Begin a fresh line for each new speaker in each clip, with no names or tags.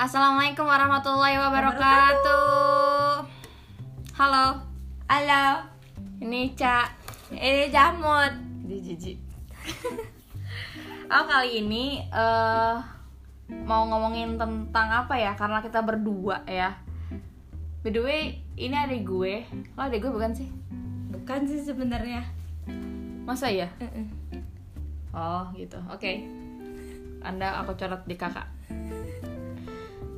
Assalamualaikum warahmatullahi wabarakatuh. Halo,
Halo,
ini Ca.
ini Jamut.
Di jijik. Oh, kali ini eh mau ngomongin tentang apa ya? Karena kita berdua ya. By the way, ini adik gue. Lo adik gue bukan sih?
Bukan sih sebenarnya.
Masa ya?
Mm-mm.
Oh gitu, oke. Anda aku coret di kakak.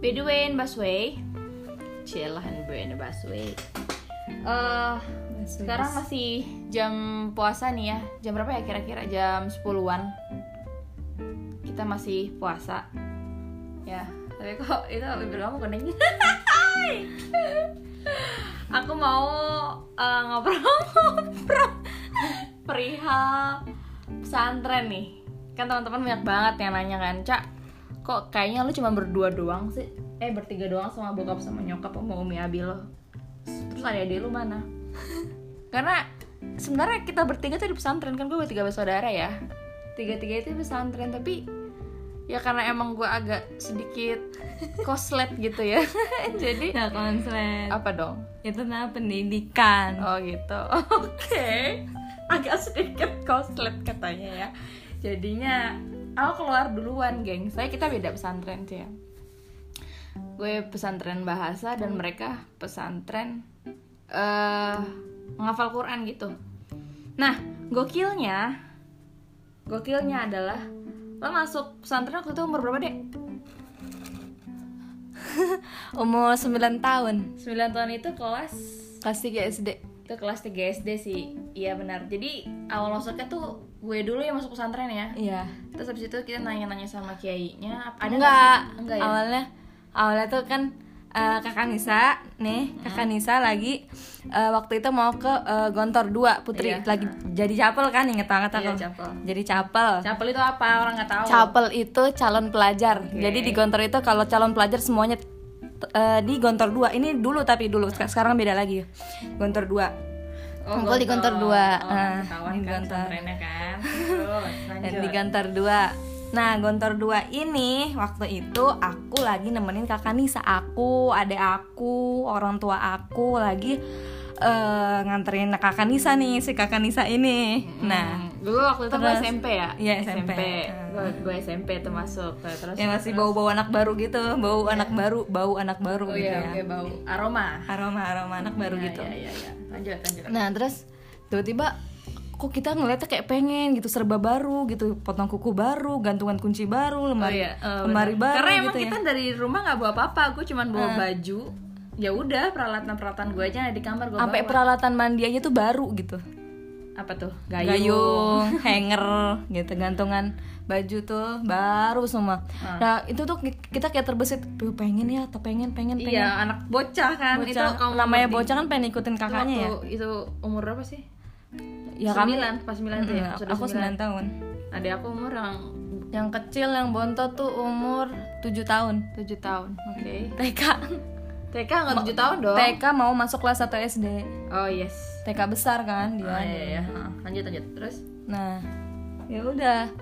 By the way, in busway, cilahan gue in the busway. Eh, sekarang masih jam puasa nih ya. Jam berapa ya kira-kira? Jam 10-an. Kita masih puasa. Ya, tapi kok itu bibir kamu kuning. aku mau eh, ngobrol-ngobrol perihal pesantren nih. Kan teman-teman banyak banget yang nanya kan, Cak, kok kayaknya lu cuma berdua doang sih? Eh, bertiga doang sama bokap sama nyokap sama umi abi lo. Terus ada adik lu mana? Karena sebenarnya kita bertiga tuh di pesantren kan gue bertiga bersaudara ya. Tiga-tiga itu di pesantren tapi ya karena emang gue agak sedikit koslet gitu ya. Jadi
Gak konslet.
apa dong?
Itu nama pendidikan.
Oh gitu. Oke. Agak sedikit koslet katanya ya. Jadinya aku keluar duluan, geng. Saya kita beda pesantren sih ya. Gue pesantren bahasa dan mereka pesantren eh menghafal Quran gitu. Nah, gokilnya gokilnya adalah lo masuk pesantren waktu itu umur berapa, Dek?
Umur 9 tahun.
9 tahun itu kelas
Kelas 3 SD.
itu kelas 3 SD sih iya benar jadi awal masuknya tuh gue dulu yang masuk pesantren ya
Iya.
terus habis itu kita nanya-nanya sama kiainya apa- ada
enggak,
nggak sih? enggak ya
Awalnya awalnya tuh kan eh, Kakak Nisa nih, Kakak Nisa lagi eh, waktu itu mau ke eh, Gontor 2 Putri
Iya.
lagi jadi capel kan inget
Iya,
banget aku.
capel.
Jadi capel.
capel itu apa orang nggak tahu
Capel itu calon pelajar.
Oh. Oke.
Jadi di Gontor itu kalau calon pelajar semuanya eh, di Gontor 2. Ini dulu tapi dulu Sek- sekarang beda lagi. Gontor 2.
oh,
Ngumpul di Gontor dua.
oh,
Ah,
ketahuan
di
kan
Gontor.
pesantrennya kan terus
Dan di
lanjut
Gontor 2. Nah, Gontor 2 ini waktu itu aku lagi nemenin Kakak Nisa aku, adek aku, orang tua aku lagi eh, nganterin Kakak Nisa nih, si Kakak Nisa ini. Nah,
Hmm, dulu waktu itu gue
terus-
SMP ya
Iya, SMP.
gue gue SMP tuh masuk terus Iya.
yang masih bau-bau anak baru gitu, bau anak baru, bau anak baru
oh
gitu
iya
ya.
gue bau aroma
Aroma-aroma anak baru
Iya,
gitu.
iya iya iya. lanjut lanjut
Nah terus tiba-tiba kok kita ngeliatnya kayak pengen gitu serba baru gitu potong kuku baru gantungan kunci
Oh
baru lemari
iya, eh,
lemari
benar.
baru
Karena emang
gitu
kita
ya Ah.
dari rumah nggak bawa apa-apa, gue cuman bawa baju. Ya udah peralatan peralatan gue aja yang ada di kamar gue
sampai
bawa.
peralatan mandi aja tuh baru gitu
apa tuh
gayung, hanger gitu gantungan baju tuh baru semua
Ah.
nah itu tuh ki- kita kayak terbesit "Duh, pengen ya atau pengen pengen
Iya
pengen
anak bocah kan
Bocah,
itu kamu
namanya
ngerti.
bocah kan pengen ikutin
Itu
kakaknya ya
waktu itu umur berapa sih?
ya kami
sembilan pas sembilan tuh ya.
Mm, aku 9 tahun
Ada aku umur yang
yang kecil yang bontot tuh umur 7 tahun
tujuh tahun. Oke.
TK
TK nggak tujuh tahun dong?
TK mau masuk kelas 1 SD
Oh yes.
TK besar kan dia
Oh, iya, iya. Ah, Lanjut lanjut terus.
nah ya udah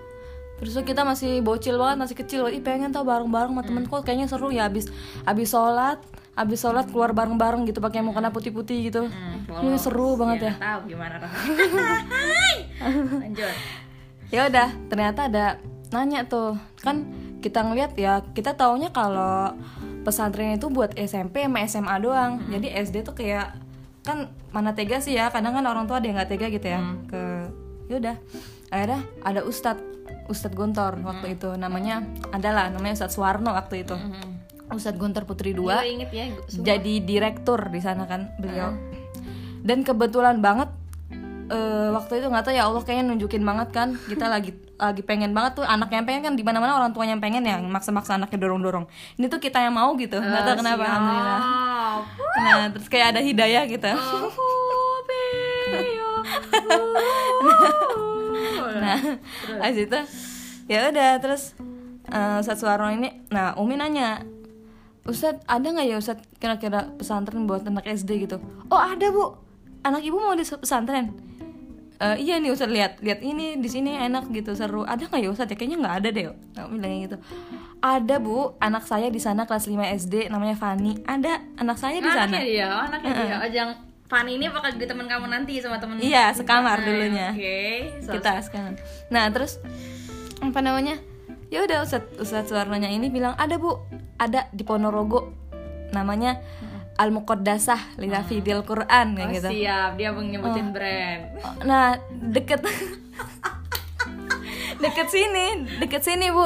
terus tuh kita masih bocil banget masih kecil ih pengen tau bareng-bareng sama
Hmm.
temen kok kayaknya seru ya abis abis sholat abis sholat keluar bareng-bareng gitu pakai mukena putih-putih gitu
Hmm,
Ini seru banget ya.
nggak Tahu gimana rasanya. lanjut.
ya udah ternyata ada nanya tuh kan kita ngeliat ya kita taunya kalau pesantren itu buat SMP sama SMA doang jadi SD tuh kayak kan mana tega sih ya kadang kan orang tua ada yang nggak tega gitu ya ke yaudah akhirnya ada Ustadz Ustadz Gontor waktu itu namanya adalah namanya Ustadz Suwarno waktu itu
Hmm.
Ustadz Gontor Putri II
Gue inget ya. gua-
jadi direktur di sana kan beliau dan kebetulan banget eh, waktu itu nggak tahu ya Allah kayaknya nunjukin banget kan kita lagi lagi pengen banget tuh anak yang pengen kan di mana mana orang tuanya yang pengen ya maksa-maksa anaknya dorong-dorong ini tuh kita yang mau gitu nggak
Ah,
tahu kenapa alhamdulillah
Wow.
nah terus kayak ada hidayah gitu
Oh.
nah abis itu ya udah terus eh Ustadz Suwarno ini nah Umi nanya Ustadz ada nggak ya Ustadz kira-kira pesantren buat anak SD gitu oh ada bu anak ibu mau di pesantren eh, iya nih Ustadz lihat lihat ini di sini enak gitu seru ada nggak ya Ustadz ya kayaknya nggak ada deh nah, bilangnya gitu ada bu anak saya di sana kelas 5 SD namanya Fani ada anak ya? saya di sana
Anaknya dia, anaknya dia. Oh, jangan Fanny ini bakal jadi teman kamu nanti sama temen
Iya,
Nah,
sekamar dulunya.
Oke. So-
kita sekarang nah terus apa namanya ya udah Ustadz Ustadz Suwarnonya ini bilang ada bu ada di Ponorogo namanya Al Muqaddasah li Rafidil Quran
Oh,
kayak gitu
siap, dia mau nyebutin brand.
Oh, nah deket deket sini deket sini bu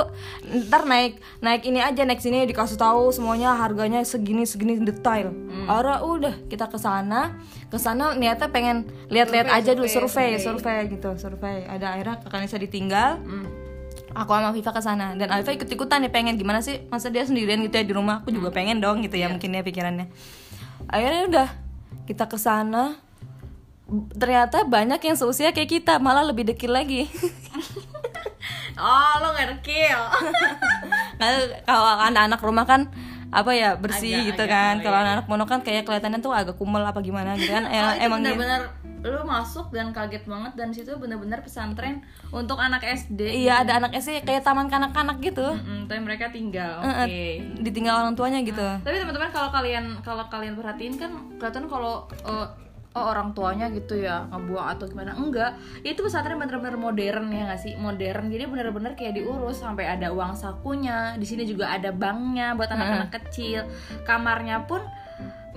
ntar naik naik ini aja naik sini dikasih tahu semuanya harganya segini segini detail
Hmm.
Ara udah kita ke sana ke sana niatnya pengen lihat-lihat
Survei,
aja dulu
survei,
survei survei gitu survei ada akhirnya kakaknya saya ditinggal
Hmm.
aku sama Viva ke sana dan Alfa ikut ikutan nih pengen gimana sih masa dia sendirian gitu ya di rumah aku
Hmm.
juga pengen dong gitu
Iya.
ya mungkin ya pikirannya akhirnya udah kita ke sana B- ternyata banyak yang seusia kayak kita malah lebih dekil lagi
Oh, lo gak dekil.
Kalau kalau anak-anak rumah kan apa ya bersih
Agak-
gitu
agak,
kan
oh
kalau
iya.
anak mono kan kayak kelihatannya tuh agak kumel apa gimana gitu kan
Oh,
Em-
itu
emang gitu.
bener-bener lu masuk dan kaget banget dan situ bener-bener pesantren untuk anak SD.
iya ada anaknya sih kayak taman kanak-kanak gitu
Mm-mm, tapi mereka tinggal. Oke.
Eh, eh, ditinggal orang tuanya gitu
tapi teman-teman kalau kalian kalau kalian perhatiin kan kelihatan kalau eh, oh, orang tuanya gitu ya ngebuang atau gimana enggak Ya itu pesantren bener-bener modern ya nggak sih modern jadi bener-bener kayak diurus sampai ada uang sakunya di sini juga ada banknya buat anak-anak kecil kamarnya pun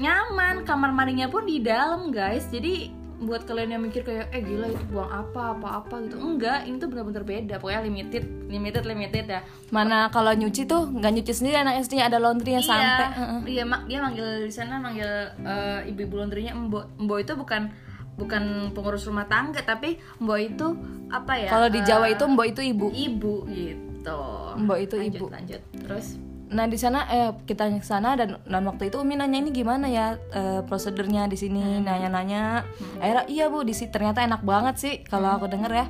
nyaman kamar mandinya pun di dalam guys jadi buat kalian yang mikir kayak eh gila itu buang apa apa apa gitu enggak ini tuh bener-bener beda pokoknya limited limited limited ya
mana kalau nyuci tuh nggak nyuci sendiri anak SD nya ada laundrynya sampai
Iya, dia ma- dia manggil di sana manggil eh, ibu-ibu laundrynya embo. Embo itu bukan bukan pengurus rumah tangga tapi embo itu apa ya?
kalau di
eh,
Jawa itu mbok itu ibu
ibu gitu.
mbok itu
lanjut,
ibu
Lanjut. Terus
nah di sana eh kita ke sana dan dan waktu itu Umi nanya ini gimana ya eh, prosedurnya di sini
Hmm.
nanya-nanya akhirnya iya bu di sini ternyata enak banget sih kalau
Hmm.
aku denger ya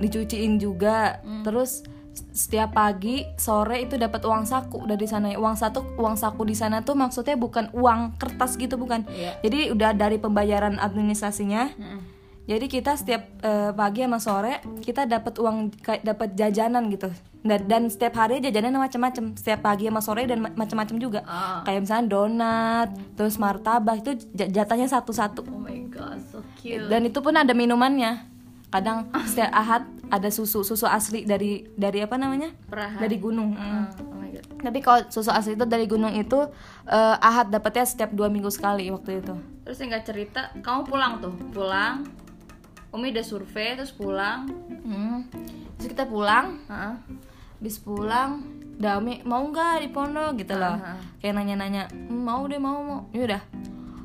dicuciin juga terus setiap pagi sore itu dapat uang saku dari sana uang satu uang saku di sana tuh maksudnya bukan uang kertas gitu bukan
Iya.
jadi udah dari pembayaran administrasinya
Mm-mm.
Jadi kita setiap eh, pagi sama sore kita dapat uang kayak dapat jajanan gitu. Dan, dan setiap hari jajanan macam-macam. Setiap pagi sama sore dan ma- macam-macam juga.
Ah.
Kayak misalnya donat, terus martabak itu ja- jatahnya satu-satu.
oh my god, so cute.
Dan itu pun ada minumannya. Kadang setiap ahad ada susu susu asli dari dari apa namanya?
Perahan.
Dari gunung. Mm.
Ah, oh my god.
Tapi kalau susu asli itu dari gunung itu eh, ahad dapatnya setiap dua minggu sekali waktu itu.
Terus yang nggak cerita, kamu pulang tuh, pulang. Umi udah survei terus pulang.
Hmm. Terus kita pulang,
Heeh.
bis pulang Dami mau nggak di pondok gitu loh
Aha.
kayak nanya-nanya "Hmm, mau deh mau mau yaudah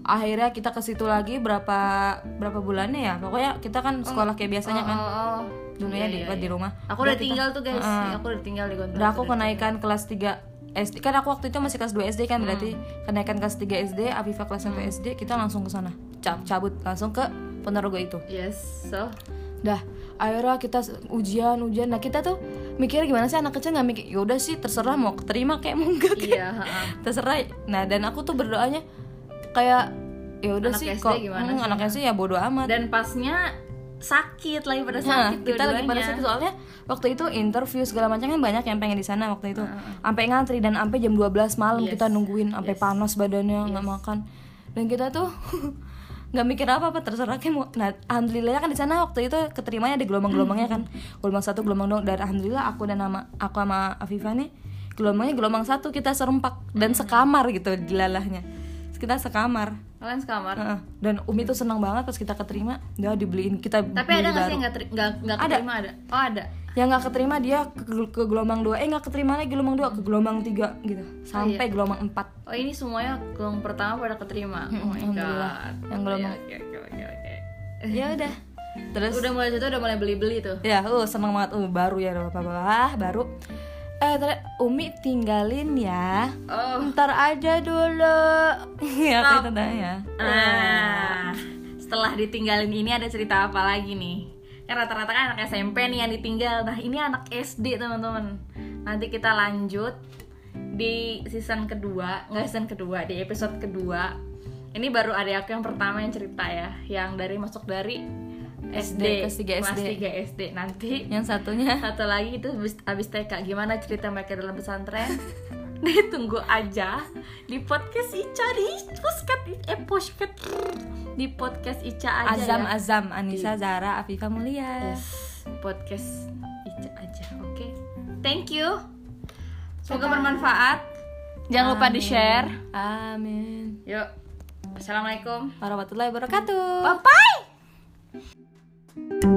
akhirnya kita ke situ lagi berapa berapa bulannya ya pokoknya kita kan sekolah kayak biasanya kan
Oh, iya. oh.
dulu ya di, di rumah
Aku udah tinggal tuh guys, aku udah tinggal di
udah
kontrakan.
aku kenaikan kelas 3 SD kan aku waktu itu masih kelas 2 SD kan
Hmm.
berarti kenaikan kelas 3 SD Afifa kelas 1 SD kita langsung ke sana Cab- cabut langsung ke Ponorogo itu
Yes, so.
Dah, akhirnya kita s- ujian ujian. Nah kita tuh mikir gimana sih anak kecil nggak mikir. Yaudah sih terserah mau keterima kayak mau enggak kayak.
Iya, heeh.
Terserah. Nah dan aku tuh berdoanya kayak ya udah
Anak
sih
SD
kok
gimana
hmm,
sih?
anak SD ya bodoh amat.
dan pasnya sakit lagi pada
Nah,
sakit
kita lagi pada situ soalnya waktu itu interview segala macam kan banyak yang pengen di sana waktu itu. Sampai ngantri dan sampai jam 12 malam
Yes.
kita nungguin sampai panas badannya nggak makan. Dan kita tuh nggak mikir apa-apa terserah kayak mau. Nah, alhamdulillah kan di sana waktu itu keterimanya ada gelombang-gelombangnya kan.
Hmm.
Gelombang satu, gelombang dua dan alhamdulillah aku dan nama aku sama Afifa nih gelombangnya gelombang satu kita serempak dan
Hmm.
sekamar gitu dilalahnya. Terus Kita sekamar.
kalian sekamar
Heeh. Dan Umi tuh senang banget pas kita keterima, dia dibeliin kita
tapi ada nggak
beli Hmm, baru.
sih yang nggak teri- nggak nggak
Ada.
keterima ada oh ada
yang nggak keterima dia ke, ke gelombang dua eh nggak keterima lagi gelombang dua ke
Hmm.
gelombang tiga gitu sampai gelombang empat
oh ini semuanya gelombang pertama pada keterima oh my
Hmm, alhamdulillah.
god
Yang gelombang-
Oke, oke, oke, oke.
ya udah terus
udah mulai situ udah mulai beli beli tuh
ya uh seneng banget uh baru ya apa apa baru eh tar- umi tinggalin ya
oh
ntar aja dulu ya kayak
Stop. Ah.
itu tanya
nah setelah ditinggalin ini ada cerita apa lagi nih kan rata-rata kan anak SMP nih yang ditinggal nah ini anak SD teman-teman nanti kita lanjut di season kedua nggak season kedua di episode kedua ini baru ada aku yang pertama yang cerita ya yang dari masuk dari SD,
kelas tiga
kelas
SD.
3 SD nanti
yang satunya
satu lagi itu abis, abis TK gimana cerita mereka dalam pesantren Nih, tunggu aja di podcast Ica di podcast eh podcast di podcast Ica aja
Azam
ya.
Azam Anissa Zara Afifah Mulia
Yes, podcast Ica aja oke thank you semoga bermanfaat jangan lupa di share
Amin
yuk assalamualaikum
warahmatullahi wabarakatuh
bye bye